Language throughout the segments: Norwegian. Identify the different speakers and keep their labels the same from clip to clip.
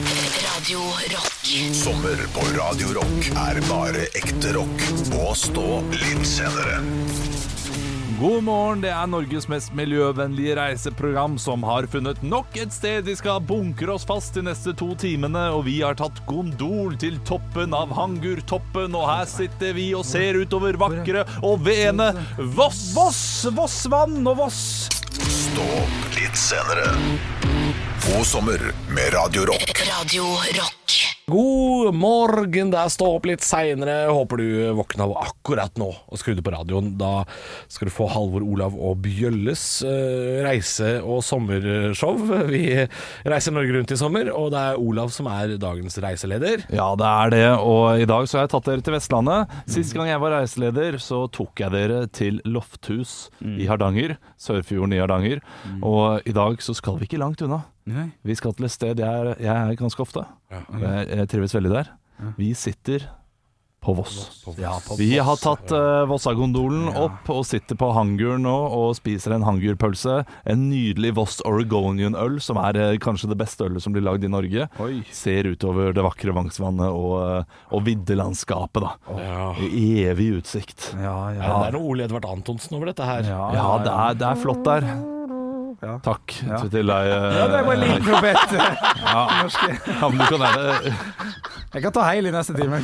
Speaker 1: Radio Rock.
Speaker 2: Sommer på Radio Rock er bare ekte rock. Og stå litt senere.
Speaker 3: God morgen, det er Norges mest miljøvennlige reiseprogram som har funnet nok et sted vi skal bunkre oss fast de neste to timene, og vi har tatt gondol til toppen av Hangurtoppen, og her sitter vi og ser utover vakre og vene Voss!
Speaker 4: Voss, Vossvann og Voss.
Speaker 2: Stå opp litt senere. God sommer med Radio Rock.
Speaker 1: Radio Rock.
Speaker 5: God morgen, det er stå opp litt seinere. Håper du våkna av akkurat nå og skrudde på radioen. Da skal du få Halvor Olav og Bjølles eh, reise- og sommershow. Vi reiser Norge rundt i sommer, og det er Olav som er dagens reiseleder.
Speaker 3: Ja, det er det, og i dag så har jeg tatt dere til Vestlandet. Sist gang jeg var reiseleder, så tok jeg dere til Lofthus i Hardanger, Sørfjorden i Hardanger, og i dag så skal vi ikke langt unna. Vi skal til et sted jeg er, jeg er ganske ofte. Og Jeg, jeg trives veldig der. Vi sitter på Voss.
Speaker 5: Ja, på
Speaker 3: Vi har tatt uh, Vossagondolen opp og sitter på hangur nå og spiser en hangurpølse. En nydelig Voss Oregonian-øl, som er eh, kanskje det beste ølet som blir lagd i Norge. Ser utover det vakre Vangsvannet og, eh, og viddelandskapet, da.
Speaker 5: Ja.
Speaker 3: I Evig utsikt.
Speaker 4: Ja, ja.
Speaker 5: Ja, det er noe Ole Edvard Antonsen over dette her.
Speaker 4: Ja.
Speaker 3: Ja, det er, det er flott der.
Speaker 4: Ja.
Speaker 3: Takk til deg. eh,
Speaker 4: Ja, det var en liten trompet. Norske.
Speaker 3: ja, men du kan gjerne
Speaker 4: Jeg kan ta heil i neste time.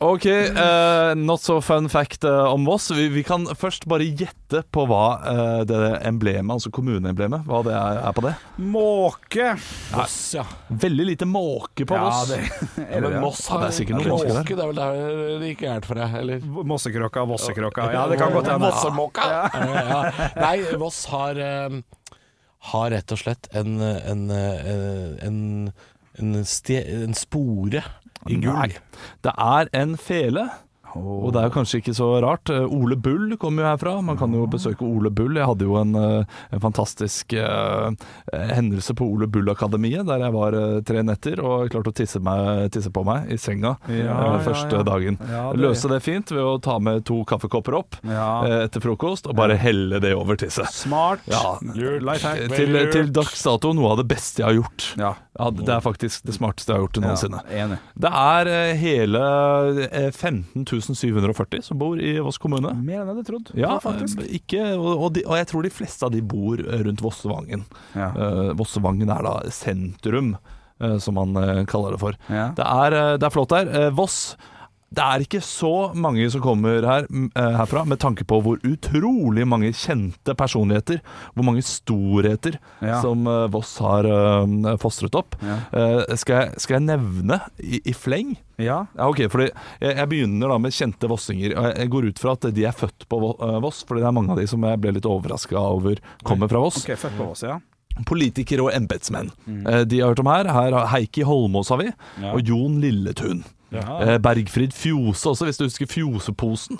Speaker 3: Ok, eh, not so fun fact eh, om Voss. Vi, vi kan først bare gjette på hva eh, det emblemet, altså kommuneemblemet, hva det er, er på det.
Speaker 4: Måke.
Speaker 5: Voss, ja.
Speaker 3: Veldig lite måke på Voss.
Speaker 4: er det
Speaker 3: men
Speaker 4: det?
Speaker 3: Moss har det er sikkert noe måke
Speaker 5: Måke,
Speaker 3: der.
Speaker 5: det er vel der det gikk gærent for deg, eller?
Speaker 4: Mossekråka, Vossekråka. Ja, det kan godt hende.
Speaker 5: Vossemåka. Ja. Ja. Nei, Voss har, eh, har rett og slett en, en, eh, en, en, ste, en spore i
Speaker 3: Nei.
Speaker 5: gull.
Speaker 3: Det er en fele. Og det er jo kanskje ikke så rart. Eh, Ole Bull kommer jo herfra. Man kan jo besøke Ole Bull. Jeg hadde jo en, eh, en fantastisk eh, hendelse på Ole Bull-akademiet, der jeg var eh, tre netter og klarte å tisse, meg, tisse på meg i senga
Speaker 4: Ja,
Speaker 3: eh, første
Speaker 4: ja, ja.
Speaker 3: dagen.
Speaker 4: Ja, det-
Speaker 3: Løse det fint ved å ta med to kaffekopper opp
Speaker 4: Ja.
Speaker 3: eh, etter frokost, og bare helle det over tisset.
Speaker 4: Smart.
Speaker 3: Ja.
Speaker 4: Life hack.
Speaker 3: Til, til dags dato noe av det beste jeg har gjort.
Speaker 4: Ja.
Speaker 3: Ja, det er faktisk det smarteste jeg har gjort noensinne.
Speaker 4: Enig.
Speaker 3: Det er eh, hele eh, 15.740 som bor i Voss kommune.
Speaker 4: Mer enn jeg hadde trodd.
Speaker 3: Ja,
Speaker 4: faktisk.
Speaker 3: eh, ikke, og, og, de, og jeg tror de fleste av de bor eh, rundt Vossevangen.
Speaker 4: Ja.
Speaker 3: Eh, Vossevangen er da sentrum, eh, som man eh, kaller det for.
Speaker 4: Ja.
Speaker 3: Det, er, eh, det er flott der. Eh, Voss det er ikke så mange som kommer her, m, eh, herfra, med tanke på hvor utrolig mange kjente personligheter, hvor mange storheter,
Speaker 4: Ja.
Speaker 3: som eh, Voss har eh, fostret opp. Eh, skal, jeg, skal jeg nevne i, i fleng?
Speaker 4: Ja.
Speaker 3: Ja, ok, fordi jeg, jeg begynner da med kjente vossinger. og Jeg jeg går ut fra at de er født på Vo- eh, Voss, fordi det er mange av de som jeg ble litt overraska over kommer fra Voss.
Speaker 4: OK, født på Voss, ja.
Speaker 3: Politikere og embetsmenn.
Speaker 4: Mm.
Speaker 3: Eh, De jeg har hørt om her, her har Heikki Holmås har vi, og Jon Lilletun.
Speaker 4: Ah.
Speaker 3: Eh, Bergfrid Fjose også, hvis du husker Fjoseposen.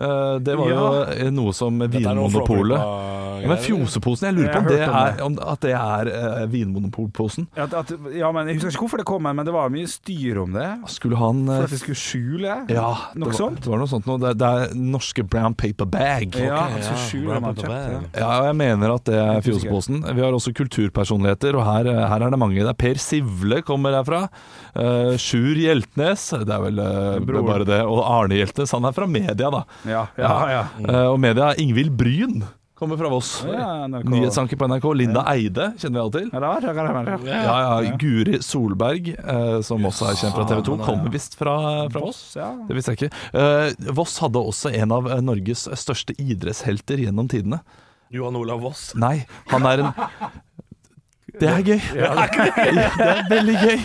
Speaker 3: Eh, Det var jo
Speaker 4: Ja.
Speaker 3: eh, noe som
Speaker 5: er noe
Speaker 3: Vinmonopolet
Speaker 5: Flåklypa-greier,
Speaker 3: ja, Men Fjoseposen, jeg lurer
Speaker 4: Jeg
Speaker 3: på om
Speaker 4: har
Speaker 3: det
Speaker 4: hørt om
Speaker 3: er, om, at det er eh, Vinmonopolposen.
Speaker 4: At, at, ja, men Jeg husker ikke hvorfor det kom, men det var mye styr om det.
Speaker 3: Skulle han eh,
Speaker 4: For at de skulle skjule
Speaker 3: Ja,
Speaker 4: Noe
Speaker 3: det var,
Speaker 4: sånt?
Speaker 3: Det var noe sånt noe. Det, det er norske brown paper bag.
Speaker 4: Ja,
Speaker 5: Ok,
Speaker 4: at de
Speaker 5: ja.
Speaker 4: skulle skjule om de hadde
Speaker 5: Bra, bra,
Speaker 4: kjøpt
Speaker 5: bra.
Speaker 4: det.
Speaker 3: Ja, og jeg mener at det er Fjoseposen. Vi har også kulturpersonligheter, og her, eh, her er det mange. Det er Per Sivle kommer herfra. Uh, Sjur Hjeltnes, det er vel eh,
Speaker 4: Broren.
Speaker 3: bare det. Og Arne Hjeltnes, han er fra media, da.
Speaker 4: Ja, ja, ja.
Speaker 3: Eh, og media er Ingvild Bryn, kommer fra Voss.
Speaker 4: Ja, NRK.
Speaker 3: Nyhetsanker på NRK. Linda Eide kjenner vi alle til.
Speaker 4: Ja, det var- det var- det var-
Speaker 3: Ja, ja. Guri Solberg, eh, som også er kjent fra TV 2, kommer visst fra, fra Voss.
Speaker 4: Voss, ja.
Speaker 3: Det visste jeg ikke. Eh, Voss hadde også en av eh, Norges største idrettshelter gjennom tidene.
Speaker 5: Johan Olav Voss.
Speaker 3: Nei, han er en Det er gøy. Ja, Det er veldig gøy.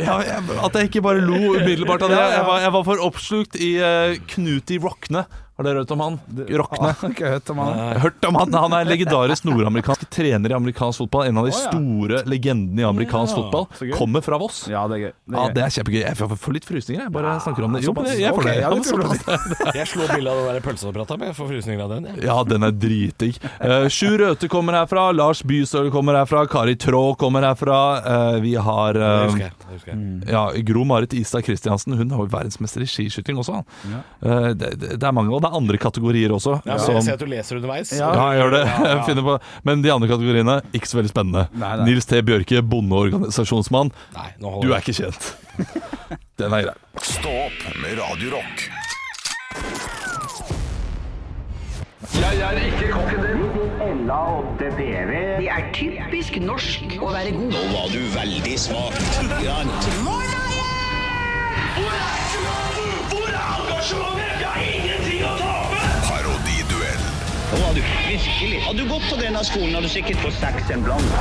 Speaker 3: Ja, jeg, at jeg ikke bare lo umiddelbart av det. Jeg var, jeg var for oppslukt i eh, Knuti Rockne. Har dere hørt om han? Rockne.
Speaker 4: Ah, ikke hørt om han.
Speaker 3: Hørt om han, han er en legendarisk nordamerikansk trener i amerikansk fotball. En av de
Speaker 4: Å, ja.
Speaker 3: store legendene i amerikansk
Speaker 5: Ja,
Speaker 3: fotball.
Speaker 4: gøy.
Speaker 3: Kommer fra Voss.
Speaker 4: Ja, det er gøy. Det er
Speaker 3: Ja,
Speaker 4: gøy. Ah,
Speaker 3: det er kjempegøy. Jeg får- får litt frysninger, jeg. Bare snakker om det. Jo, men jeg- jeg får
Speaker 4: Ok,
Speaker 3: det.
Speaker 4: ja,
Speaker 3: Ja,
Speaker 4: det tror jeg.
Speaker 5: Jeg slo bilde av den der pølsa du prata om, jeg får frysninger av den. Jeg.
Speaker 3: Ja, den er dritdigg. Uh, Sjur Røthe kommer herfra, Lars Bystøl kommer herfra, Kari Traa kommer herfra. eh, vi har
Speaker 5: Det
Speaker 3: eh,
Speaker 5: husker jeg. Det husker jeg.
Speaker 3: ja, Gro Marit Istad Kristiansen. Hun har jo verdensmester i skiskyting også. han. Eh, det, det det er mange, og det er andre kategorier også.
Speaker 5: Ja, men
Speaker 3: som,
Speaker 5: Jeg ser at du leser underveis.
Speaker 3: ja, jeg gjør det. Jeg finner på. Men de andre kategoriene, ikke så veldig spennende.
Speaker 4: Nei, nei.
Speaker 3: Nils T. Bjørke, bondeorganisasjonsmann.
Speaker 5: Nei, nå
Speaker 3: Du
Speaker 5: holder
Speaker 3: er ikke kjent. Den er grei.
Speaker 2: Stå opp med Radio Rock.
Speaker 6: Ella 8TV.
Speaker 1: Det er typisk norsk å være god.
Speaker 2: Parodiduell.
Speaker 6: Nå var du virkelig. Hadde du gått på denne skolen, hadde du sikkert fått seks en blant.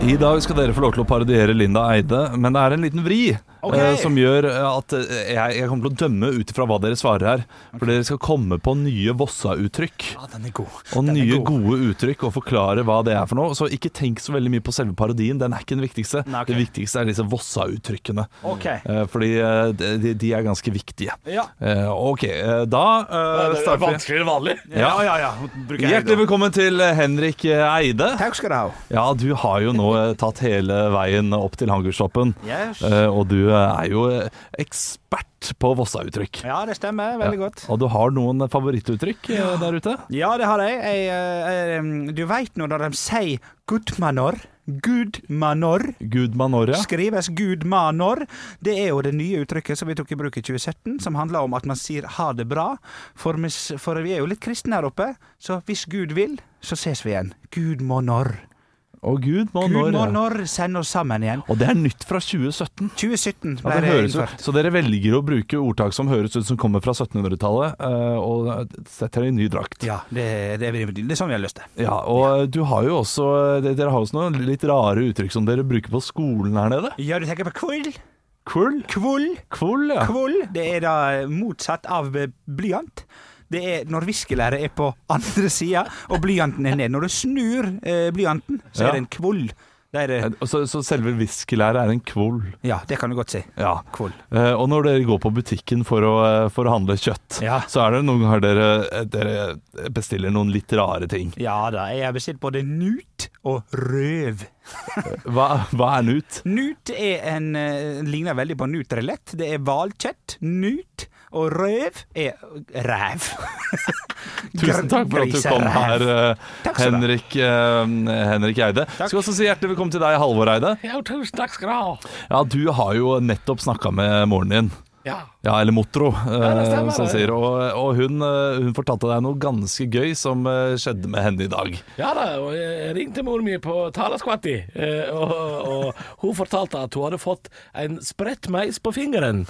Speaker 3: I dag skal dere få lov til å parodiere Linda Eide, men det er en liten vri.
Speaker 4: Ok.
Speaker 3: eh, som gjør at eh, jeg, jeg kommer til å dømme ut ifra hva dere svarer her. For dere skal komme på nye Vossa-uttrykk.
Speaker 4: Ja, den er god.
Speaker 3: Og
Speaker 4: Den er
Speaker 3: nye
Speaker 4: god.
Speaker 3: gode uttrykk og forklare hva det er for noe. Så ikke tenk så veldig mye på selve parodien, den er ikke den viktigste.
Speaker 4: Nei, ok.
Speaker 3: Det viktigste er disse Vossa-uttrykkene.
Speaker 4: Ok.
Speaker 3: Eh, Fordi eh, de, de er ganske viktige.
Speaker 4: Ja.
Speaker 3: Eh, Ok, eh, da eh,
Speaker 5: Det er
Speaker 3: starter vi.
Speaker 5: vanskeligere enn vanlig.
Speaker 4: Ja, ja, ja. Bruker jeg
Speaker 3: Hjertelig
Speaker 4: da.
Speaker 3: velkommen til Henrik eh, Eide.
Speaker 4: Takk skal du ha.
Speaker 3: Ja, du har jo nå eh, tatt hele veien opp til Hangarstoppen.
Speaker 4: Yes.
Speaker 3: Eh, Og du eh, er jo eh, ekspert på Vossa-uttrykk.
Speaker 4: Ja, det stemmer. Veldig godt.
Speaker 3: Og du har noen favorittuttrykk eh, der ute?
Speaker 4: Ja, det har jeg. jeg, eh, eh, du veit nå når de sier 'gudmanor'. Gudmanor
Speaker 3: Gudmanoria.
Speaker 4: skrives gudmanor. Det er jo det nye uttrykket som vi tok i bruk i 2017, som handler om at man sier ha det bra. For, hvis, for vi er jo litt kristne her oppe, så hvis Gud vil, så ses vi igjen. Gud må når.
Speaker 3: Og
Speaker 4: Gud må
Speaker 3: Gudmanoria.
Speaker 4: når sende oss sammen igjen.
Speaker 3: Og det er nytt fra 2017.
Speaker 4: 2017
Speaker 3: Ja, det
Speaker 4: ble det
Speaker 3: høres ut,
Speaker 4: innført.
Speaker 3: så dere velger å bruke ordtak som høres ut som kommer fra 1700-tallet, eh, og setter det i ny drakt.
Speaker 4: Ja, det, det, er- det er sånn vi har lyst til.
Speaker 3: Ja, og eh, du har jo også de- Dere har også noen litt rare uttrykk som dere bruker på skolen her nede.
Speaker 4: Ja, du tenker på kvull?
Speaker 3: Kvull?
Speaker 4: Kvull?
Speaker 3: Kvull, ja.
Speaker 4: Kvoll, det er da motsatt av eh, blyant. Det er når viskelæret er på andre sida, og blyanten er ned. Når du snur eh, blyanten,
Speaker 3: Ja.
Speaker 4: så er det en kvoll. Det er, eh,
Speaker 3: Eh, Så, så selve viskelæret er en kvull.
Speaker 4: ja, det kan du godt si.
Speaker 3: Ja.
Speaker 4: Kvoll.
Speaker 3: Eh, Og når dere går på butikken for å, eh, for å handle kjøtt,
Speaker 4: Ja.
Speaker 3: så er det noen ganger dere, eh, dere bestiller noen litt rare ting.
Speaker 4: Ja da, jeg har bestilt både nut og røv.
Speaker 3: Hva, hva er nut?
Speaker 4: Nut er en, eh, ligner veldig på nutrelett. Det er hvalkjøtt, nut, og røv er ræv.
Speaker 3: Tusen takk for at du kom her, eh,
Speaker 4: Takk skal du ha.
Speaker 3: Henrik, eh, Henrik Eide. Skal også si hjertelig velkommen til deg, Halvor Eide.
Speaker 5: Ja, tusen takk skal du ha.
Speaker 3: Ja, du har jo nettopp snakka med moren din.
Speaker 5: Ja.
Speaker 3: Ja, eller motro, eh,
Speaker 5: det stemmer,
Speaker 3: som
Speaker 5: det.
Speaker 3: sier. Og, og hun, eh, hun fortalte deg noe ganske gøy som eh, skjedde med henne i dag.
Speaker 5: Ja da, og jeg ringte mor mi på taleskvatti, eh, og, og hun fortalte at hun hadde fått en spredt meis på fingeren.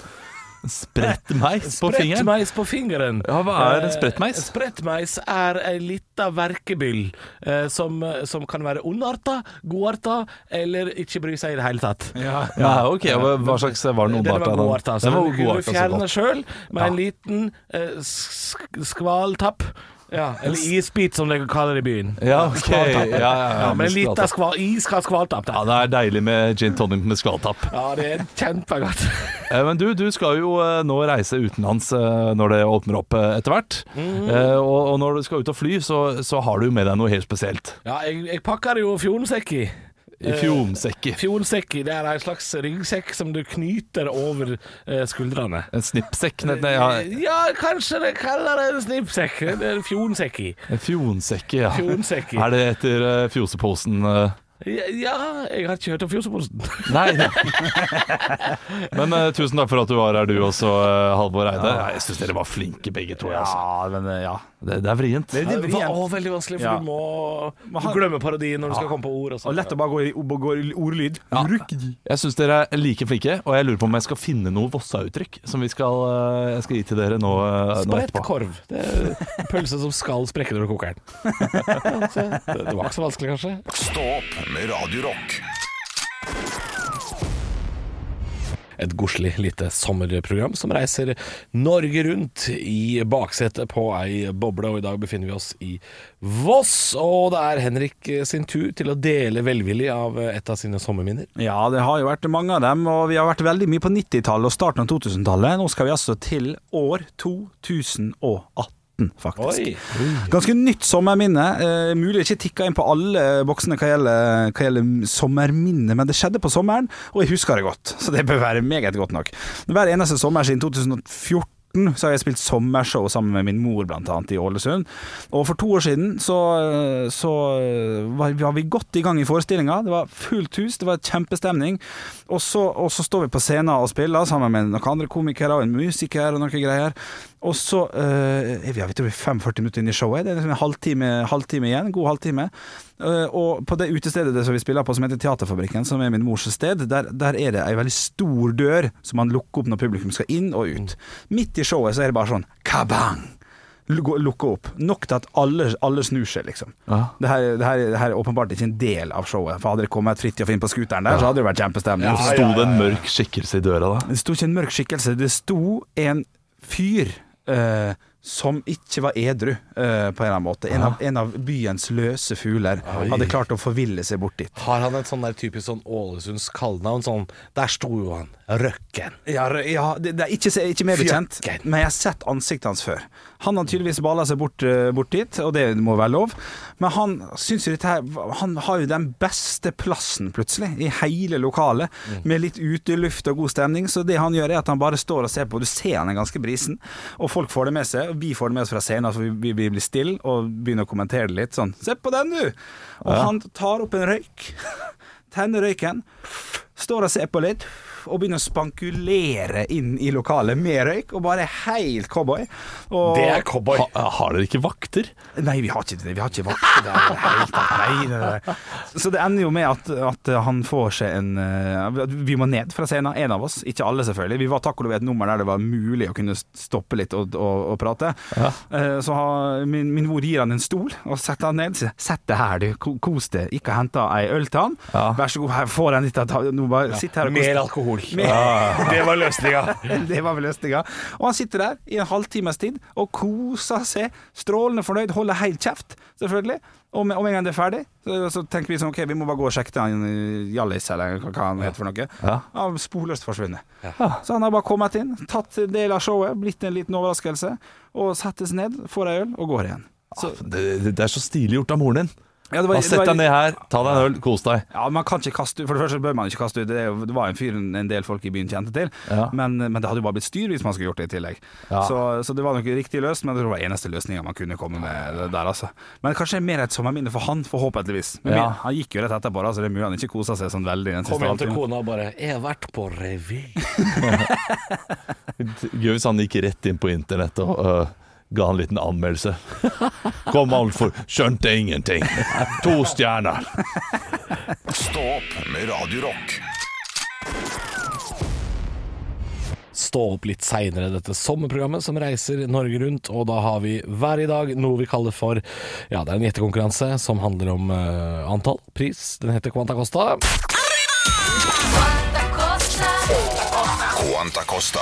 Speaker 3: Spredt meis på
Speaker 5: Spredt
Speaker 3: fingeren.
Speaker 5: meis på fingeren.
Speaker 3: Ja, hva er en
Speaker 5: Eh,
Speaker 3: sprettmeis?
Speaker 5: Sprettmeis er ei lita verkebyll eh, som, som kan være ondarta, godarta eller ikke bry seg i det hele tatt.
Speaker 3: Ja, ja, ok, hva- Hva slags var den
Speaker 5: Den var altså.
Speaker 3: ondarta?
Speaker 5: godarta, så den kunne du
Speaker 3: godarta, så
Speaker 5: fjerne
Speaker 3: altså, godt.
Speaker 5: sjøl med en liten eh, sk skvaltapp. Ja, eller isbit, som de kaller det i byen.
Speaker 3: Ja, ok.
Speaker 5: Skvaltapp.
Speaker 3: Ja, ja, ja,
Speaker 5: men en
Speaker 3: med
Speaker 5: liten
Speaker 3: skvaltapp.
Speaker 5: skval, iskald skvaltapp.
Speaker 3: Ja,
Speaker 5: Der.
Speaker 3: det er deilig med gin tonic med skvaltapp.
Speaker 5: Ja, det er kjempegodt.
Speaker 3: Eh, Men du, du skal jo eh, nå reise utenlands eh, når det åpner opp eh, etter hvert.
Speaker 5: Mhm.
Speaker 3: Eh, Og, og når du skal ut og fly, så, så har du jo med deg noe helt spesielt.
Speaker 5: Ja, jeg, jeg pakker jo fjonsekk i. Eh,
Speaker 3: I fjonsekker.
Speaker 5: Fjonsekk i, det er en slags ryggsekk som du knyter over eh, skuldrene.
Speaker 3: En snippsekk. Nei, nei, ja.
Speaker 5: Ja, kanskje det kaller det en snippsekk. Det er en fjonsekk i.
Speaker 3: En fjonsekke, ja.
Speaker 5: Fjonsekk i.
Speaker 3: Er det etter eh, fjoseposen eh?
Speaker 5: Ja, ja, jeg har ikke hørt om fjoseposten.
Speaker 3: Nei. Men eh, tusen takk for at du var her, du også, eh, Halvor Eide. Ja, jeg syns dere var flinke begge to. jeg, Altså.
Speaker 4: Ja, men eh, ja.
Speaker 3: Det, det er vrient.
Speaker 4: Det, det er
Speaker 5: var
Speaker 4: vrient.
Speaker 5: også veldig vanskelig, for
Speaker 4: Ja.
Speaker 5: du må
Speaker 4: han-
Speaker 5: du glemmer parodien når du skal komme på ord. Og sånn.
Speaker 4: Og
Speaker 5: sånt.
Speaker 4: lett å bare gå i, gå i ordlyd.
Speaker 3: Ja.
Speaker 4: Rukki.
Speaker 3: Jeg syns dere er like flinke, og jeg lurer på om jeg skal finne noe Vossa-uttrykk som vi skal, eh, jeg skal gi til dere nå, eh, nå
Speaker 5: Spredt
Speaker 3: etterpå.
Speaker 5: korv. Det er en pølse som skal sprekke når du koker den. Ja, så Det det var ikke så vanskelig, kanskje.
Speaker 2: Stå opp med Radio Rock.
Speaker 5: Et godslig lite sommerprogram som reiser Norge rundt i baksetet på ei boble, og i dag befinner vi oss i Voss. Og det er Henrik sin tur til å dele velvillig av et av sine sommerminner.
Speaker 4: Ja, det har jo vært mange av dem, og vi har vært veldig mye på 90-tallet og starten av 2000-tallet. Nå skal vi altså til år 2018, faktisk.
Speaker 5: Oi.
Speaker 4: Ganske nytt sommerminne. Eh, mulig jeg ikke tikka inn på alle boksene hva gjelder, hva gjelder sommerminne, men det skjedde på sommeren, og jeg husker det godt. Så det bør være meget godt nok. Hver eneste sommer siden 2014 2014 så har jeg spilt sommershow sammen med min mor, blant annet, i Ålesund. Og for to år siden så, så eh, var, var vi godt i gang i forestillinga. Det var fullt hus, det var kjempestemning. Og så, og så står vi på scenen og spiller sammen med noen andre komikere og en musiker og noen greier. Og så eh, jeg vet ikke, vi er 45 minutter inn i showet. Det er liksom en halvtime, halvtime igjen. God halvtime. Eh, og på det utestedet som vi spiller på, som heter Teaterfabrikken, som er min mors sted, der, der er det ei veldig stor dør som man lukker opp når publikum skal inn og ut. Midt i showet så er det bare sånn kabang! Lu- gå- Lukke opp. Nok til at alle, alle snur seg, liksom.
Speaker 3: Ja.
Speaker 4: Det, her, det, her, det her er åpenbart ikke en del av showet. For hadde det kommet Fridtjof inn på scooteren der, så hadde det vært kjempestemning.
Speaker 3: Sto det en mørk skikkelse i døra da?
Speaker 4: Det sto ikke en mørk skikkelse, det sto en fyr eh, som ikke var edru, eh, på en eller annen måte. En av, en av byens løse fugler hadde klart å forville seg bort dit.
Speaker 5: Har han et sånn der typisk sånn Ålesunds kallenavn? Sånn Der sto jo han, Røkken.
Speaker 4: Ja, r- ja det, det er ikke, se- ikke mer bekjent,
Speaker 5: Fjakken.
Speaker 4: men jeg har sett ansiktet hans før. Han har tydeligvis balla seg bort, eh, bort dit, og det må være lov. Men han syns jo dette her Han har jo den beste plassen, plutselig, i hele lokalet, med litt uteluft og god stemning. Så det han gjør, er at han bare står og ser på. Du ser han er ganske brisen, og folk får det med seg. Og vi får det med oss fra scenen, for vi, vi, vi blir stille og begynner å kommentere det litt sånn. Se på den, du! Og han tar opp en røyk. tenner røyken, står og ser på litt, og begynner å spankulere inn i lokalet med røyk, og bare er helt cowboy. Og
Speaker 5: Det er cowboy.
Speaker 3: Ha, har dere ikke vakter?
Speaker 4: Nei, vi har ikke det. Vi har ikke vakter der. i det hele tatt. Nei, nei, nei. Så det ender jo med at, at han får seg en eh, at Vi må ned fra scenen, en av oss. Ikke alle, selvfølgelig. Vi var takk og lov i et nummer der det var mulig å kunne stoppe litt og, og, og prate. Eh, Så har- min, min mor gir han en stol og setter han ned. Sier, Sett deg her, du. Ko- Kos deg. Ikke henta ei øl til han.
Speaker 3: Ja.
Speaker 4: Vær så god, her får han litt av ta- Nå bare sitt her og kos
Speaker 5: Mer
Speaker 4: deg.
Speaker 5: alkohol.
Speaker 4: Mer-
Speaker 5: Det var løsninga.
Speaker 4: Det var vel løsninga. Og han sitter der i en halvtimes tid og koser seg, strålende fornøyd, holder helt kjeft, selvfølgelig. Og med, om en gang det er ferdig, så, så tenker vi sånn OK, vi må bare gå og sjekke til han eh, Hjallis, eller hva hva han heter for noe.
Speaker 3: Ja.
Speaker 4: Han har sporløst forsvunnet. Så han har bare kommet inn, tatt en del av showet, blitt en liten overraskelse, og settes ned, får ei øl og går igjen. Så-
Speaker 3: Ah, det, det- det er så stilig gjort av moren din.
Speaker 4: Ja, det var-
Speaker 3: Bare
Speaker 4: det
Speaker 3: Sett
Speaker 4: var-
Speaker 3: deg ned her, ta deg en øl, kos deg.
Speaker 4: Ja, man kan ikke kaste ut For det første bør man ikke kaste ut Det, er jo- det var en fyr en del folk i byen kjente til
Speaker 3: Ja.
Speaker 4: men, men det hadde jo bare blitt styr hvis man skulle gjort det i tillegg
Speaker 3: Ja.
Speaker 4: så, så det var nok riktig løst Men det var eneste løsningen man kunne komme med det der altså. Men kanskje mer et sommerminne for han forhåpentligvis men
Speaker 3: Ja.
Speaker 4: min- Han gikk jo rett etterpå da, Så det er mulig han ikke koset seg sånn veldig den siste
Speaker 5: Kom hjem til
Speaker 4: halvtimen.
Speaker 5: kona og bare 'Jeg har vært på revy'.
Speaker 3: Gøy hvis han gikk rett inn på internett og øh, ga en liten anmeldelse. Kom altfor Skjønte ingenting. To stjerner.
Speaker 2: Stå opp med Radio Rock.
Speaker 5: Stå opp litt seinere, dette sommerprogrammet som reiser Norge rundt. Og da har vi hver i dag noe vi kaller for Ja, det er en gjettekonkurranse som handler om eh, antall, pris. Den heter Quanta Costa.
Speaker 2: Quanta Costa.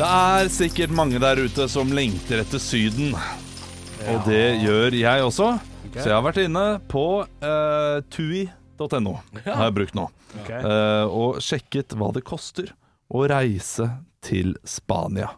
Speaker 3: Det er sikkert mange der ute som lengter etter Syden. Og det gjør jeg også. Så jeg har vært inne på eh, tui.no, har jeg brukt nå, eh, og sjekket hva det koster å reise til Spania.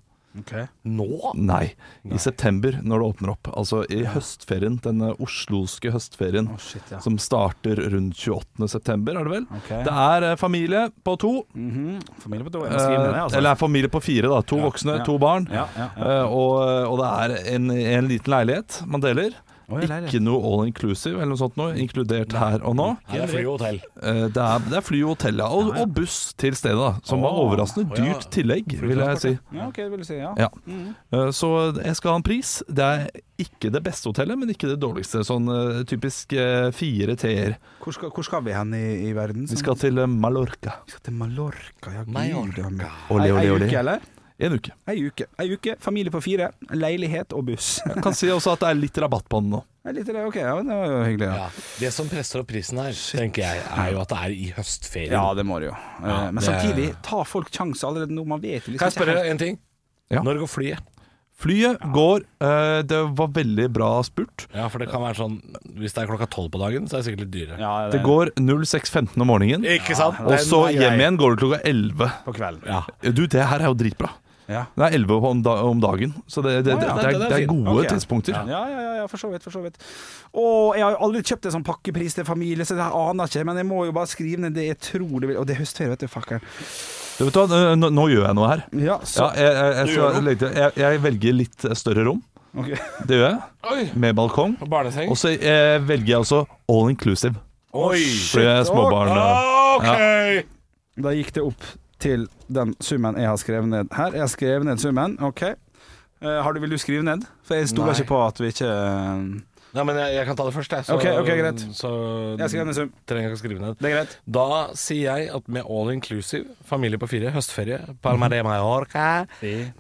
Speaker 5: Nå?
Speaker 3: Nei, i september når det åpner opp. Altså i høstferien, denne osloske høstferien
Speaker 4: shit, ja.
Speaker 3: som starter rundt 28. september, er det vel?
Speaker 4: Ok.
Speaker 3: Det er eh, familie på to,
Speaker 4: Familie på to, jeg må skrive ned det,
Speaker 3: eh,
Speaker 4: altså.
Speaker 3: eller er familie på fire, da. To voksne,
Speaker 4: ja.
Speaker 3: to barn.
Speaker 4: Ja, ja,
Speaker 3: Eh, og, og det er en, en liten leilighet man deler.
Speaker 4: Oi, leilighet.
Speaker 3: Ikke noe all inclusive eller noe sånt noe, inkludert her og nå.
Speaker 5: Her er fly og hotell.
Speaker 3: Eh, det, er, det er fly og hotell, ja, og, og buss til stedet, da. Som var overraskende dyrt tillegg, vil jeg si.
Speaker 4: ja, ok, det vil du si, ja
Speaker 3: Ja. Eh, Så jeg skal ha en pris. Det er ikke det beste hotellet, men ikke det dårligste. Sånn eh, typisk eh, fire T-er.
Speaker 4: Hvor skal, hvor skal vi hen i, i verden?
Speaker 3: Vi skal til eh, Mallorca.
Speaker 4: Vi skal til Mallorca, ja gud
Speaker 5: Mallorca.
Speaker 4: ja, men-
Speaker 3: Ole,
Speaker 4: Ei-
Speaker 3: ole,
Speaker 4: ei
Speaker 3: ole.
Speaker 4: uke, eller?
Speaker 3: En uke.
Speaker 4: Ei uke. Ei uke, familie på fire, leilighet og buss.
Speaker 3: Jeg kan si også at det er litt rabatt på den nå.
Speaker 4: Det er litt av det, ok, ja, men det var jo hyggelig. Ja,
Speaker 5: Ja, det som presser opp prisen her, tenker jeg, er jo at det er i høstferien.
Speaker 4: ja det må det jo. Eh, Men
Speaker 5: det-
Speaker 4: samtidig, ta folk sjanse allerede nå. Man vet jo liksom
Speaker 5: Kan jeg
Speaker 4: ikke
Speaker 5: spørre
Speaker 4: helt-
Speaker 5: en ting?
Speaker 3: Ja.
Speaker 5: Når går flyet?
Speaker 3: Flyet går. eh, Det var veldig bra spurt.
Speaker 5: Ja, for det kan være sånn Hvis det er klokka tolv på dagen, så er det sikkert litt dyrere.
Speaker 4: Ja,
Speaker 3: Det går 06.15 om morgenen,
Speaker 5: Ikke sant?
Speaker 3: og
Speaker 5: Det er-
Speaker 3: så
Speaker 4: nei,
Speaker 3: hjem
Speaker 4: nei.
Speaker 3: igjen går det klokka 11.
Speaker 4: på kvelden.
Speaker 5: ja.
Speaker 3: Du, det her er jo dritbra.
Speaker 4: Ja.
Speaker 3: Det er 11 om, da, om dagen, så det, det, det,
Speaker 5: ja,
Speaker 3: det,
Speaker 5: den-
Speaker 3: er,
Speaker 5: den er
Speaker 3: det er
Speaker 5: fin.
Speaker 3: gode
Speaker 4: Ok.
Speaker 3: tidspunkter.
Speaker 4: Ja, ja, ja, ja, for så vidt, for så vidt. Og jeg har jo aldri kjøpt en sånn pakkepris til familie, så det aner jeg ikke, men jeg må jo bare skrive ned det jeg tror det vil Og det er høstferie, vet du, fucker.
Speaker 3: Du vet hva, eh, nå, nå gjør jeg noe her.
Speaker 4: Ja,
Speaker 3: Ja,
Speaker 4: så
Speaker 3: jeg, jeg, jeg, skal legge til- jeg, jeg velger litt større rom.
Speaker 4: Ok.
Speaker 3: Det gjør jeg.
Speaker 5: Oi,
Speaker 3: Med balkong.
Speaker 5: barneseng.
Speaker 3: Og så eh, velger jeg altså all inclusive.
Speaker 5: Oi.
Speaker 3: Fordi jeg er småbarn. eh.
Speaker 5: Ok!
Speaker 4: Da gikk det opp til den summen jeg har skrevet ned her. Jeg har skrevet ned summen, OK. Eh, har du, vil du skrive ned? For jeg stoler
Speaker 5: Nei.
Speaker 4: ikke på at vi ikke eh, Jeg
Speaker 5: Nei, men jeg, jeg kan ta det først, jeg. Så,
Speaker 4: Ok, ok, greit.
Speaker 5: Så
Speaker 4: har skrevet ned sum.
Speaker 5: trenger jeg ikke å skrive ned.
Speaker 4: Det er greit.
Speaker 5: Da sier jeg at med all inclusive, familie på fire, høstferie, Palma de Mallorca,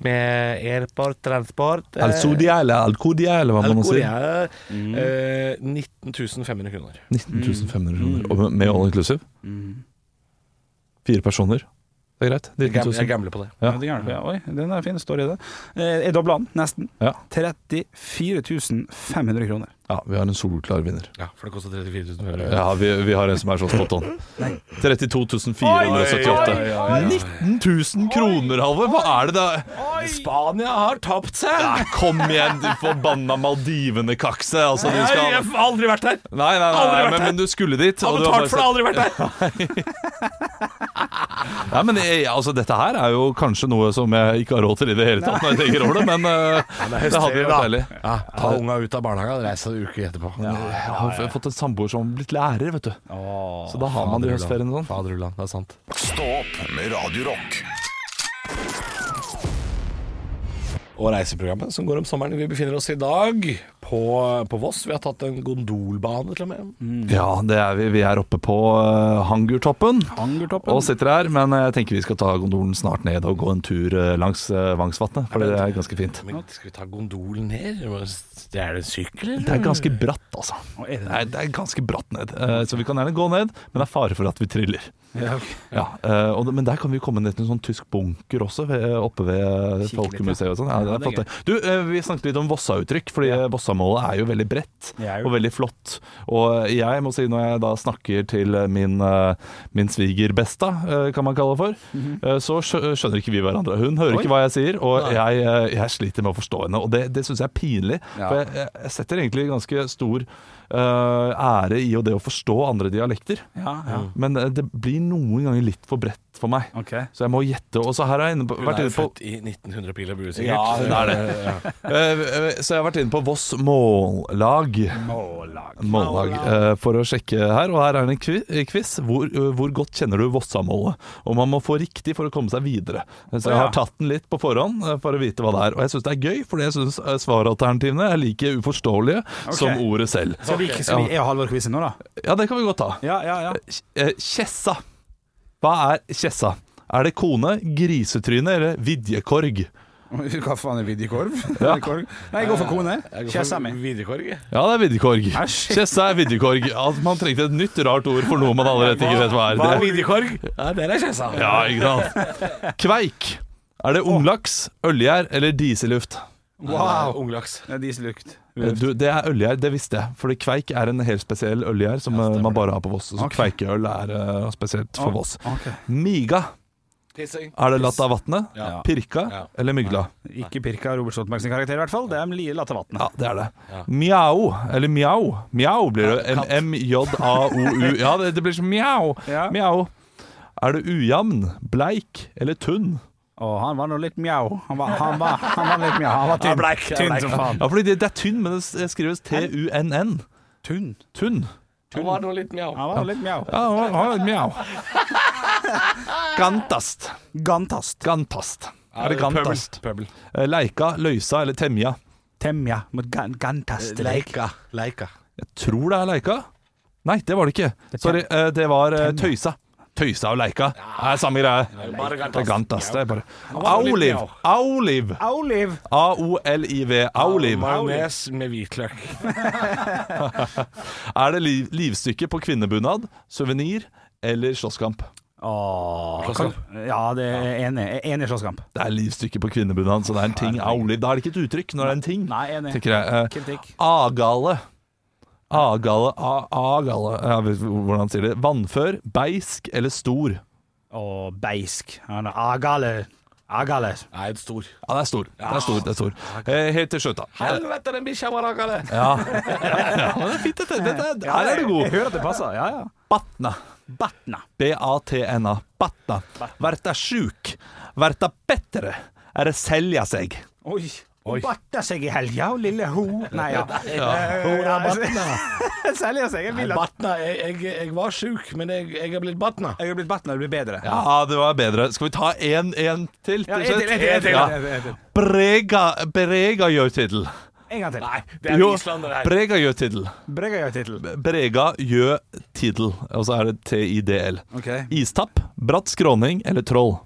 Speaker 5: med airport, transport eh,
Speaker 3: Al Sudiale, Al Codiale, hva man nå sier.
Speaker 5: Alcoria, eh, 19 500 kroner.
Speaker 3: 19 500
Speaker 5: Mm.
Speaker 3: kroner. Og med- med all inclusive? Fire personer. Det er greit. 19
Speaker 5: Jeg gam- Jeg
Speaker 3: 000.
Speaker 5: gambler på det.
Speaker 3: Ja.
Speaker 4: Ja. det er gjerne. Ja, oi, den er fin. Står i det. Eh, jeg dobla den, nesten.
Speaker 3: Ja.
Speaker 4: 34 500 kroner.
Speaker 3: ja, vi har en solklar vinner.
Speaker 5: Ja, for det koster 34 500.
Speaker 3: Ja, vi, vi har en som er så spot on. 32 478. 19 000 kroner, Halvor! Hva er det da?
Speaker 5: Spania har tapt seg!
Speaker 3: Nei, kom igjen, du forbanna Maldivene-kakse. Altså, du skal
Speaker 5: Jeg har aldri vært der!
Speaker 3: Nei, nei, nei, nei men, men du skulle dit.
Speaker 5: Har
Speaker 3: og du har
Speaker 5: betalt for det,
Speaker 3: bare
Speaker 5: aldri vært der!
Speaker 3: sett- Nei, men jeg, altså, Dette her er jo kanskje noe som jeg ikke har råd til i det hele tatt, når jeg tenker over det, men eh, det hadde jo vært deilig.
Speaker 5: Ja, ta unga ut av barnehagen og reise en uke etterpå.
Speaker 3: Jeg har f- fått en samboer som har blitt lærer, vet du. så da har man det i høstferien og sånn.
Speaker 5: Faderullan, det er sant.
Speaker 2: Stå opp med Radio Rock.
Speaker 5: Og reiseprogrammet som går om sommeren. Vi befinner oss i dag på, på Voss. Vi har tatt en gondolbane, til og med.
Speaker 3: sånn. Ja, det er vi. Vi er oppe på eh, Hangertoppen
Speaker 4: Angertoppen.
Speaker 3: og sitter her. Men eh, jeg tenker vi skal ta gondolen snart ned og gå en tur eh, langs eh, Vangsvatnet, for det er ganske fint.
Speaker 5: Men skal vi ta gondolen ned? Det er det en sykkel,
Speaker 3: Det
Speaker 5: eller?
Speaker 3: er ganske bratt, altså.
Speaker 4: er det det?
Speaker 3: Nei, det er ganske bratt ned. Eh, Så vi kan gjerne gå ned, men det er fare for at vi triller.
Speaker 4: Ja, ok.
Speaker 3: Ja, eh, og, det- men der kan vi jo komme ned til en sånn tysk bunker også, ved, oppe ved
Speaker 4: Kikke litt,
Speaker 3: Folkemuseet og sånn. Ja, det
Speaker 4: Ja,
Speaker 3: er
Speaker 4: det er
Speaker 3: flott, det. Du, eh, vi snakket litt om Vossa-uttrykk, fordi eh, Vossa-målet er jo veldig bredt
Speaker 4: Det er jo
Speaker 3: og veldig flott. Og eh, jeg må si, når jeg da snakker til eh, min, eh, min svigerbesta, eh, kan man kalle det for,
Speaker 4: Mhm.
Speaker 3: eh, så skjø- skjønner ikke vi hverandre. Hun hører ikke hva jeg sier, og jeg, eh, jeg sliter med å forstå henne. Og det, det syns jeg er pinlig,
Speaker 4: Ja.
Speaker 3: for jeg, jeg jeg setter egentlig ganske stor eh, ære i og det å forstå andre dialekter.
Speaker 4: Ja, ja.
Speaker 3: Men eh, det blir noen ganger litt for bredt for meg.
Speaker 4: OK.
Speaker 3: Så jeg må gjette. Og så her har jeg inne på,
Speaker 5: Hun
Speaker 3: vært
Speaker 5: er jo
Speaker 3: inne på
Speaker 5: født i 1900 pil og bue, sikkert.
Speaker 3: Ja, hun er det. Eh, eh, Så jeg har vært inne på Voss Mållag. Mållag. eh, for å sjekke her. Og her er det en kvi- eh, quiz. Hvor, eh, hvor godt kjenner du Vossamålet? Og man må få riktig for å komme seg videre. Så jeg
Speaker 4: Ja.
Speaker 3: har tatt den litt på forhånd eh, for å vite hva det er. Og jeg syns det er gøy, fordi jeg syns svaralternativene er like uforståelige som ordet selv.
Speaker 4: Skal vi, skal vi, jeg og Halvor quize nå, da?
Speaker 3: Ja, det kan vi godt ta.
Speaker 4: Ja, ja, ja.
Speaker 3: Eh, Kjessa. Hva er kjessa? Er det kone, grisetryne eller vidjekorg?
Speaker 4: Hva faen er vidjekorv? Ja. Nei, jeg går for kone. Kjessa mi.
Speaker 5: Viderekorg.
Speaker 3: Ja, det er vidjekorg.
Speaker 4: Æsj.
Speaker 3: Kjessa er vidjekorg. Altså, man trengte et nytt rart ord for noe man allerede ikke vet hva
Speaker 5: Hva er
Speaker 3: er. Det.
Speaker 5: viderekorg? Ja, der er kjessa.
Speaker 3: Ja, ikke sant? Kveik. Er det unglaks, ølgjær eller dieseluft?
Speaker 5: Wow. Unglaks.
Speaker 4: Det er dieselukt.
Speaker 3: Eh, Du, det er ølgjær, det visste jeg. Fordi kveik er en helt spesiell ølgjær som eh, man bare har på Voss. Så kveikeøl er eh, spesielt for Voss.
Speaker 4: Ok.
Speaker 3: Miga.
Speaker 5: Pissing.
Speaker 3: Er det latt av vannet?
Speaker 5: Ja.
Speaker 3: Pirka
Speaker 5: Ja.
Speaker 3: eller mygla?
Speaker 4: Ikke pirka Robert Stoltenberg sin karakter, i hvert fall. Det er Lie Latte Vatn.
Speaker 3: Ja, det er det. Mjau, eller mjau. Mjau blir det.
Speaker 5: Katt.
Speaker 3: M-j-a-o-u. Ja, det, det blir som mjau.
Speaker 4: Ja.
Speaker 3: Mjau. Er du ujevn, bleik eller tynn?
Speaker 4: Og han var nå litt mjau. Han var, han var, han var litt mjau. Han var tynn.
Speaker 5: bleik, ja,
Speaker 4: tynn
Speaker 5: bleik.
Speaker 4: som faen.
Speaker 3: Ja, fordi det, det er tynn, men det s- skrives t-u-n-n.
Speaker 4: Tynn.
Speaker 3: Tynn.
Speaker 5: Det var noe litt mjau.
Speaker 4: Han var litt mjau.
Speaker 3: Ja, han var- han var mjau. Gantast.
Speaker 4: Gantast.
Speaker 3: Gantast. Er det gantast?
Speaker 5: Pøbel.
Speaker 3: Eh, Leika, løysa eller temja?
Speaker 4: Temja mot gan gantast.
Speaker 5: Leika. Leika.
Speaker 3: Jeg tror det er leika. Nei, det var det ikke. Sorry, eh, det var eh, tøysa. Tøysa og leika er samme greie.
Speaker 5: Bare
Speaker 3: Det er gantast. Det er bare
Speaker 5: var det litt
Speaker 3: Auliv. Auliv.
Speaker 4: Olive.
Speaker 3: A-O-L-I-V. Auliv.
Speaker 5: Majones med hvitløk.
Speaker 3: Er det liv, livstykke på kvinnebunad, suvenir eller slåsskamp?
Speaker 5: Slåsskamp.
Speaker 4: Ja, det er jeg enig. Jeg er Enig i slåsskamp.
Speaker 3: Det er livstykke på kvinnebunad, så det er en ting. Auliv. Da er det ikke et uttrykk når det er en ting,
Speaker 4: Nei, enig.
Speaker 3: tenker jeg. Eh,
Speaker 4: Kritikk.
Speaker 3: Agale. Agale, a- agale Jeg vet ikke Hvordan sier de det? Vannfør, beisk eller stor?
Speaker 4: Og beisk. Han er agale. Agale.
Speaker 5: Nei, det er stor.
Speaker 3: Ja, det er stor. Det er stor, det er stor. Eh, Helt til slutt, da.
Speaker 5: Helvete, den bikkja var raka, det!
Speaker 3: Ja. Ja, men det er fint, dette. dette er- Her er du god.
Speaker 4: Jeg hører at det passer. Ja, ja.
Speaker 3: Batna.
Speaker 4: Batna.
Speaker 3: B-A-T-N-A. Batna. Verta sjuk. Verta bedre. Er det selja seg?
Speaker 4: Oi. Hun batta seg i helga, hun lille ho. Nei, ja. Eh,
Speaker 5: Hora
Speaker 4: altså,
Speaker 5: batna.
Speaker 4: Selger seg. Jeg vil at
Speaker 5: Batna, jeg, jeg, jeg var sjuk, men jeg, jeg er blitt batna.
Speaker 4: jeg har blitt batna, det blir bedre.
Speaker 3: Ja, det var bedre. Skal vi ta én en til?
Speaker 4: Ja,
Speaker 3: til
Speaker 4: en
Speaker 3: slutt?
Speaker 4: til, en til, en til,
Speaker 3: Ja.
Speaker 4: en til, en til.
Speaker 3: Brega, brega gjør tittel.
Speaker 4: En gang til.
Speaker 5: Det er
Speaker 3: Jo,
Speaker 5: islandere her.
Speaker 3: Brega gjør tittel.
Speaker 4: Bregga gjør tittelen.
Speaker 3: Brega gjør tittel. Og så er det T-I-D-L.
Speaker 4: Ok.
Speaker 3: Istapp, bratt skråning eller troll?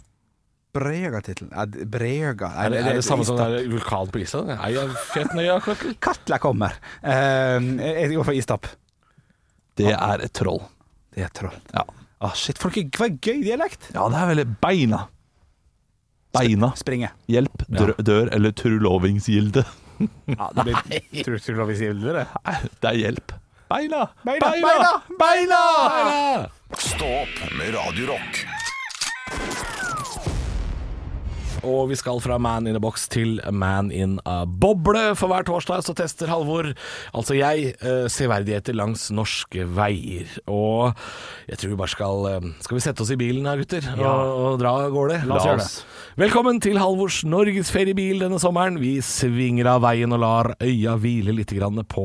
Speaker 4: Brega-tittelen. Ja, d- Brega
Speaker 5: Er det, er det samme som der vulkan på Island? Er jeg fett nøye, Kottel?
Speaker 4: Katla kommer. Eh, jeg går for istapp.
Speaker 3: Det er et troll.
Speaker 4: Det er troll.
Speaker 3: Ja,
Speaker 4: Å, shit, folk er hva gøy dialekt.
Speaker 3: ja det er veldig Beina. Beina.
Speaker 4: Springe.
Speaker 3: Hjelp, dør, dør eller trulovingsgilde.
Speaker 4: Ja, det blir, tror, tror du lov vi sier det? eller?
Speaker 3: Nei, det er hjelp. Beina!
Speaker 4: Beina,
Speaker 3: Beina! Beina!
Speaker 2: Stå opp med Radio Rock.
Speaker 5: Og vi skal fra Man in a box til Man in a boble. For hver torsdag så tester Halvor, altså jeg, eh, severdigheter langs norske veier. Og jeg tror vi bare skal eh, Skal vi sette oss i bilen her, gutter, og, og dra av gårde?
Speaker 3: La oss gjøre det.
Speaker 5: Velkommen til Halvors norgesferiebil denne sommeren. Vi svinger av veien og lar øya hvile litt grann på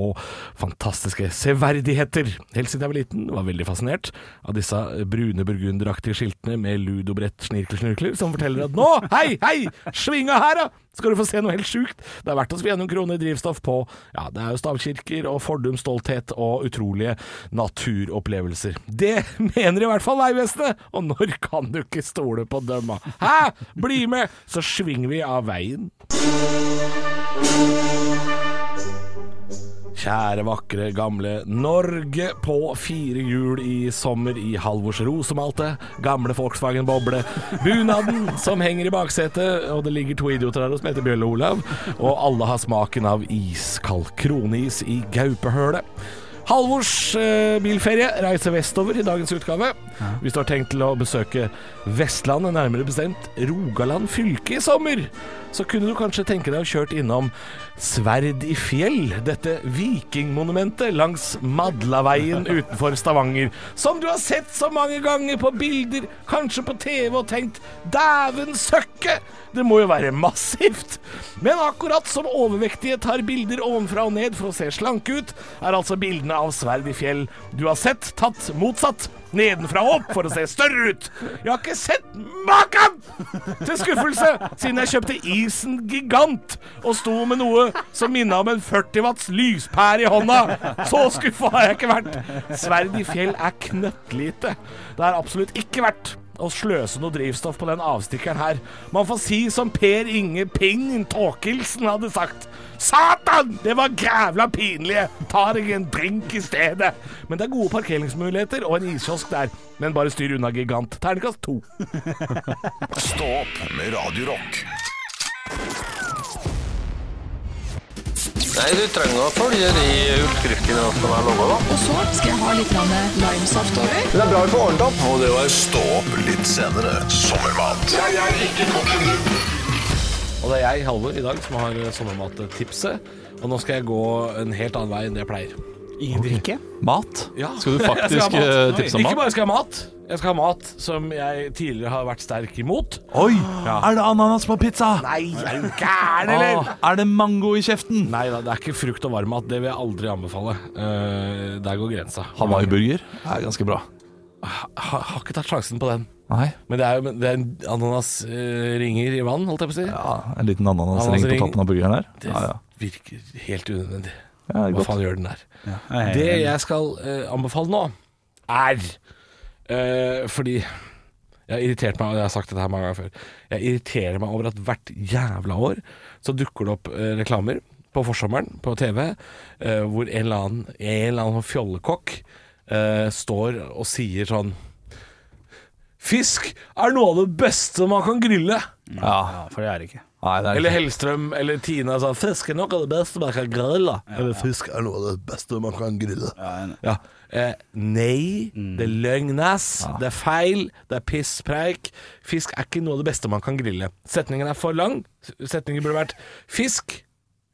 Speaker 5: fantastiske severdigheter. Helt siden jeg var liten, var veldig fascinert av disse brune burgunderaktige skiltene med ludobrett snirkelsnurkler som forteller at nå, hei, hei, svinga her da! Skal du få se noe helt sjukt? Det er verdt å svi noen kroner i drivstoff på ja, det er jo stavkirker og fordums stolthet og utrolige naturopplevelser. Det mener i hvert fall Vegvesenet, og når kan du ikke stole på dømma? Hæ? Bli med, så svinger vi av veien. Kjære, vakre, gamle Norge på fire hjul i sommer i Halvors rosemalte. Gamle Volkswagen Boble. Bunaden som henger i baksetet, og det ligger to idioter der som heter Bjølle og Olav. Og alle har smaken av iskald kroneis i gaupehølet. Halvors eh, bilferie reiser vestover i dagens utgave. Hvis du har tenkt til å besøke Vestlandet, nærmere bestemt Rogaland fylke i sommer, så kunne du kanskje tenke deg å kjørt innom Sverd i fjell, dette vikingmonumentet langs Madlaveien utenfor Stavanger, som du har sett så mange ganger på bilder, kanskje på TV, og tenkt 'dæven søkke', det må jo være massivt. Men akkurat som overvektige tar bilder ovenfra og ned for å se slanke ut, er altså bildene av Sverd i fjell du har sett, tatt motsatt. Nedenfra og opp for å se større ut. Jeg har ikke sett maken! til skuffelse, siden jeg kjøpte isen gigant og sto med noe som minna om en 40 watts lyspære i hånda. Så skuffa har jeg ikke vært. Sverd i fjell er knøttlite. Det er absolutt ikke verdt å sløse noe drivstoff på den avstikkeren her. Man får si som Per Inge Ping Tåkildsen hadde sagt. Satan! Det var grævla pinlige! Ta deg en drink i stedet. Men det er gode parkeringsmuligheter og en iskiosk der. Men bare styr unna Gigant. Terningkast to.
Speaker 2: Stå opp med Radio Rock.
Speaker 7: Nei, du trenger å følge de utskriftene som er laga, da.
Speaker 8: Og så skal jeg ha litt grann limesaft over.
Speaker 7: Det er bra vi får ordnet opp. Og det var
Speaker 2: Stå opp litt senere. Sommermat
Speaker 5: Og det er jeg, Halvor, i dag som har sommermattipset. Og nå skal jeg gå en helt annen vei enn det jeg pleier.
Speaker 4: I drikke.
Speaker 3: Mat?
Speaker 5: Ja.
Speaker 3: Skal du
Speaker 5: Jeg
Speaker 3: faktisk
Speaker 5: skal ha mat.
Speaker 3: eh, tipse om
Speaker 5: Ikke
Speaker 3: mat?
Speaker 5: bare skal jeg ha mat, jeg skal ha mat som jeg tidligere har vært sterk imot.
Speaker 3: Oi! Er det ananas på pizza?
Speaker 5: Nei, er du gæren,
Speaker 3: Ah, er det mango i kjeften?
Speaker 5: Nei da, det er ikke frukt og varmmat. Det vil jeg aldri anbefale. Eh, der går grensa.
Speaker 3: Hawaii-burger er ganske bra.
Speaker 5: Ha- Har ikke tatt sjansen på den.
Speaker 3: Nei.
Speaker 5: Men det er jo men det er en ananasringer i vann, holdt jeg på å si.
Speaker 3: Ja, en liten ananasring på
Speaker 5: Ananasring.
Speaker 3: toppen av burgeren her.
Speaker 5: Det
Speaker 3: Ja, ja.
Speaker 5: virker helt unødvendig.
Speaker 3: ja det er
Speaker 5: Hva
Speaker 3: godt.
Speaker 5: faen gjør den der? Det jeg skal eh, anbefale nå, er eh, Fordi jeg har irritert meg, og jeg har sagt dette her mange ganger før Jeg irriterer meg over at hvert jævla år så dukker det opp eh, reklamer på forsommeren på TV eh, hvor en eller annen, en eller annen fjollekokk eh, står og sier sånn Fisk er noe av det beste man kan grille.
Speaker 3: Ja.
Speaker 4: For det er det ikke.
Speaker 3: Nei, det
Speaker 5: Eller
Speaker 3: er
Speaker 5: Hellstrøm eller Tina sa 'fisk er noe av det beste man kan grille'. Eller 'fisk er noe av det beste man kan grille'. Ja. Eh, nei,
Speaker 3: Mm.
Speaker 5: det er løgnas, det er feil, det er pisspreik. Fisk er ikke noe av det beste man kan grille. Setningen er for lang. Setningen burde vært 'fisk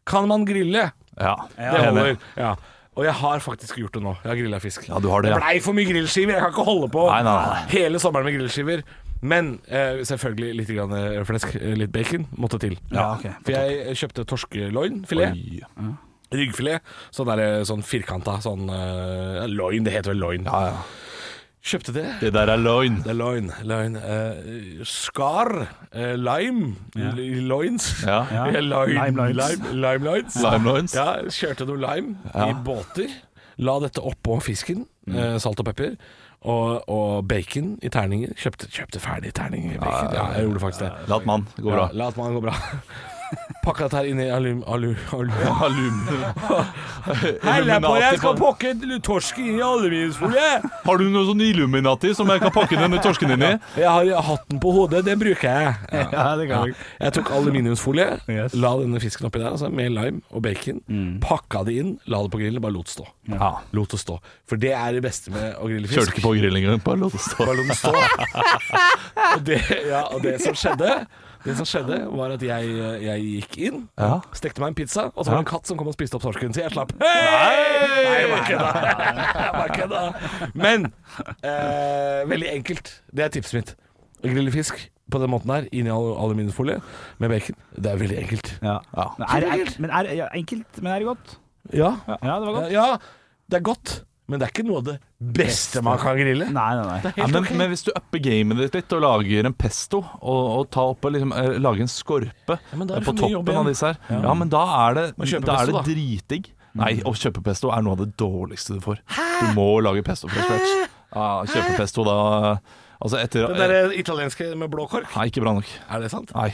Speaker 5: kan man grille'.
Speaker 3: ja.
Speaker 5: Det holder. Ja. Og jeg har faktisk gjort det nå. Jeg har grilla fisk.
Speaker 3: Ja, du har det, ja.
Speaker 5: blei for mye grillskiver. Jeg kan ikke holde på
Speaker 3: Nei, nei, nei.
Speaker 5: hele sommeren med grillskiver. Men eh, selvfølgelig litt grann eh, flesk, eh, litt bacon måtte til.
Speaker 4: Ja, ok.
Speaker 5: For jeg kjøpte torskeloin-filet.
Speaker 3: Oi.
Speaker 5: Ryggfilet. Sånn, der, eh, sånn firkanta sånn eh, Loin, det heter vel loin.
Speaker 3: Ja, ja.
Speaker 5: Kjøpte det.
Speaker 3: Det der er løgn.
Speaker 5: Det er loin. loin. Eh, skar. eh, lime. l- Loins.
Speaker 3: Ja.
Speaker 5: Eh, loin-
Speaker 4: Lime loins.
Speaker 5: Lime, lime loins.
Speaker 3: Lime loins.
Speaker 5: Ja, kjørte noe lime i båter. La dette oppå fisken. eh, salt og pepper. Og, og bacon i terninger. Kjøpte, kjøpte ferdig terning. i Bacon. Ja, jeg gjorde faktisk det.
Speaker 3: Lat mann, det går
Speaker 5: Ja,
Speaker 3: bra.
Speaker 5: la at man går bra. Pakka dette her inn i alum... alu, alu.
Speaker 3: Alum. Illuminati på-
Speaker 5: pakke torsken inn i aluminiumsfolie!
Speaker 3: Har du noe sånn Illuminati som jeg kan pakke denne torsken inn i?
Speaker 5: Jeg har hatten på hodet, den bruker jeg.
Speaker 4: Ja, det kan
Speaker 5: Ja.
Speaker 4: vi.
Speaker 5: Jeg tok aluminiumsfolie,
Speaker 4: Yes.
Speaker 5: la denne fisken oppi der, altså, med lime og bacon. Pakka det inn, la det på grillen, bare lot stå.
Speaker 3: Ja.
Speaker 5: Lot det stå. For det er det beste med å grille
Speaker 3: Kjørte
Speaker 5: fisk.
Speaker 3: ikke på grill engang. Bare lot det stå.
Speaker 5: Bare lot den stå. og, det, ja, og det som skjedde det som skjedde var at jeg, jeg gikk inn,
Speaker 3: Ja.
Speaker 5: stekte meg en pizza, og så var det en katt som kom og spiste opp torsken. Så jeg slapp. Hei! jeg bare kødda. Jeg bare kødda. Men eh, veldig enkelt. Det er tipset mitt. Å grille fisk på den måten her, inni al- aluminiumsfolie med bacon. Det er veldig enkelt.
Speaker 4: Ja.
Speaker 3: Ja.
Speaker 4: Men er, det- er, men er, ja, enkelt, men er det godt?
Speaker 5: Ja,
Speaker 4: Ja, det var godt.
Speaker 5: ja det er godt, men det er ikke noe av det beste man kan grille.
Speaker 4: Nei, nei, nei.
Speaker 3: Ja, men, men hvis du upper gamet ditt litt og lager en pesto, og, og ta opp og liksom, eh, lager en skorpe eh,
Speaker 5: Ja, men da er det
Speaker 3: på
Speaker 5: for mye jobb
Speaker 3: toppen
Speaker 5: igjen.
Speaker 3: av disse her, ja. men da er det,
Speaker 5: kjøpe
Speaker 3: da er
Speaker 5: pesto,
Speaker 3: det
Speaker 5: da. Mm.
Speaker 3: dritdigg. Nei, å kjøpe pesto er noe av det dårligste du får. Du må lage pesto fra scratch. Ja, kjøpe pesto da Altså etter
Speaker 5: Den der italienske med blå kork,
Speaker 3: Nei, ikke bra nok.
Speaker 5: er det sant?
Speaker 3: Nei.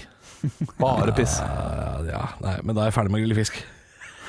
Speaker 3: Bare piss.
Speaker 5: Ja, nei, men da er jeg ferdig med å grille fisk.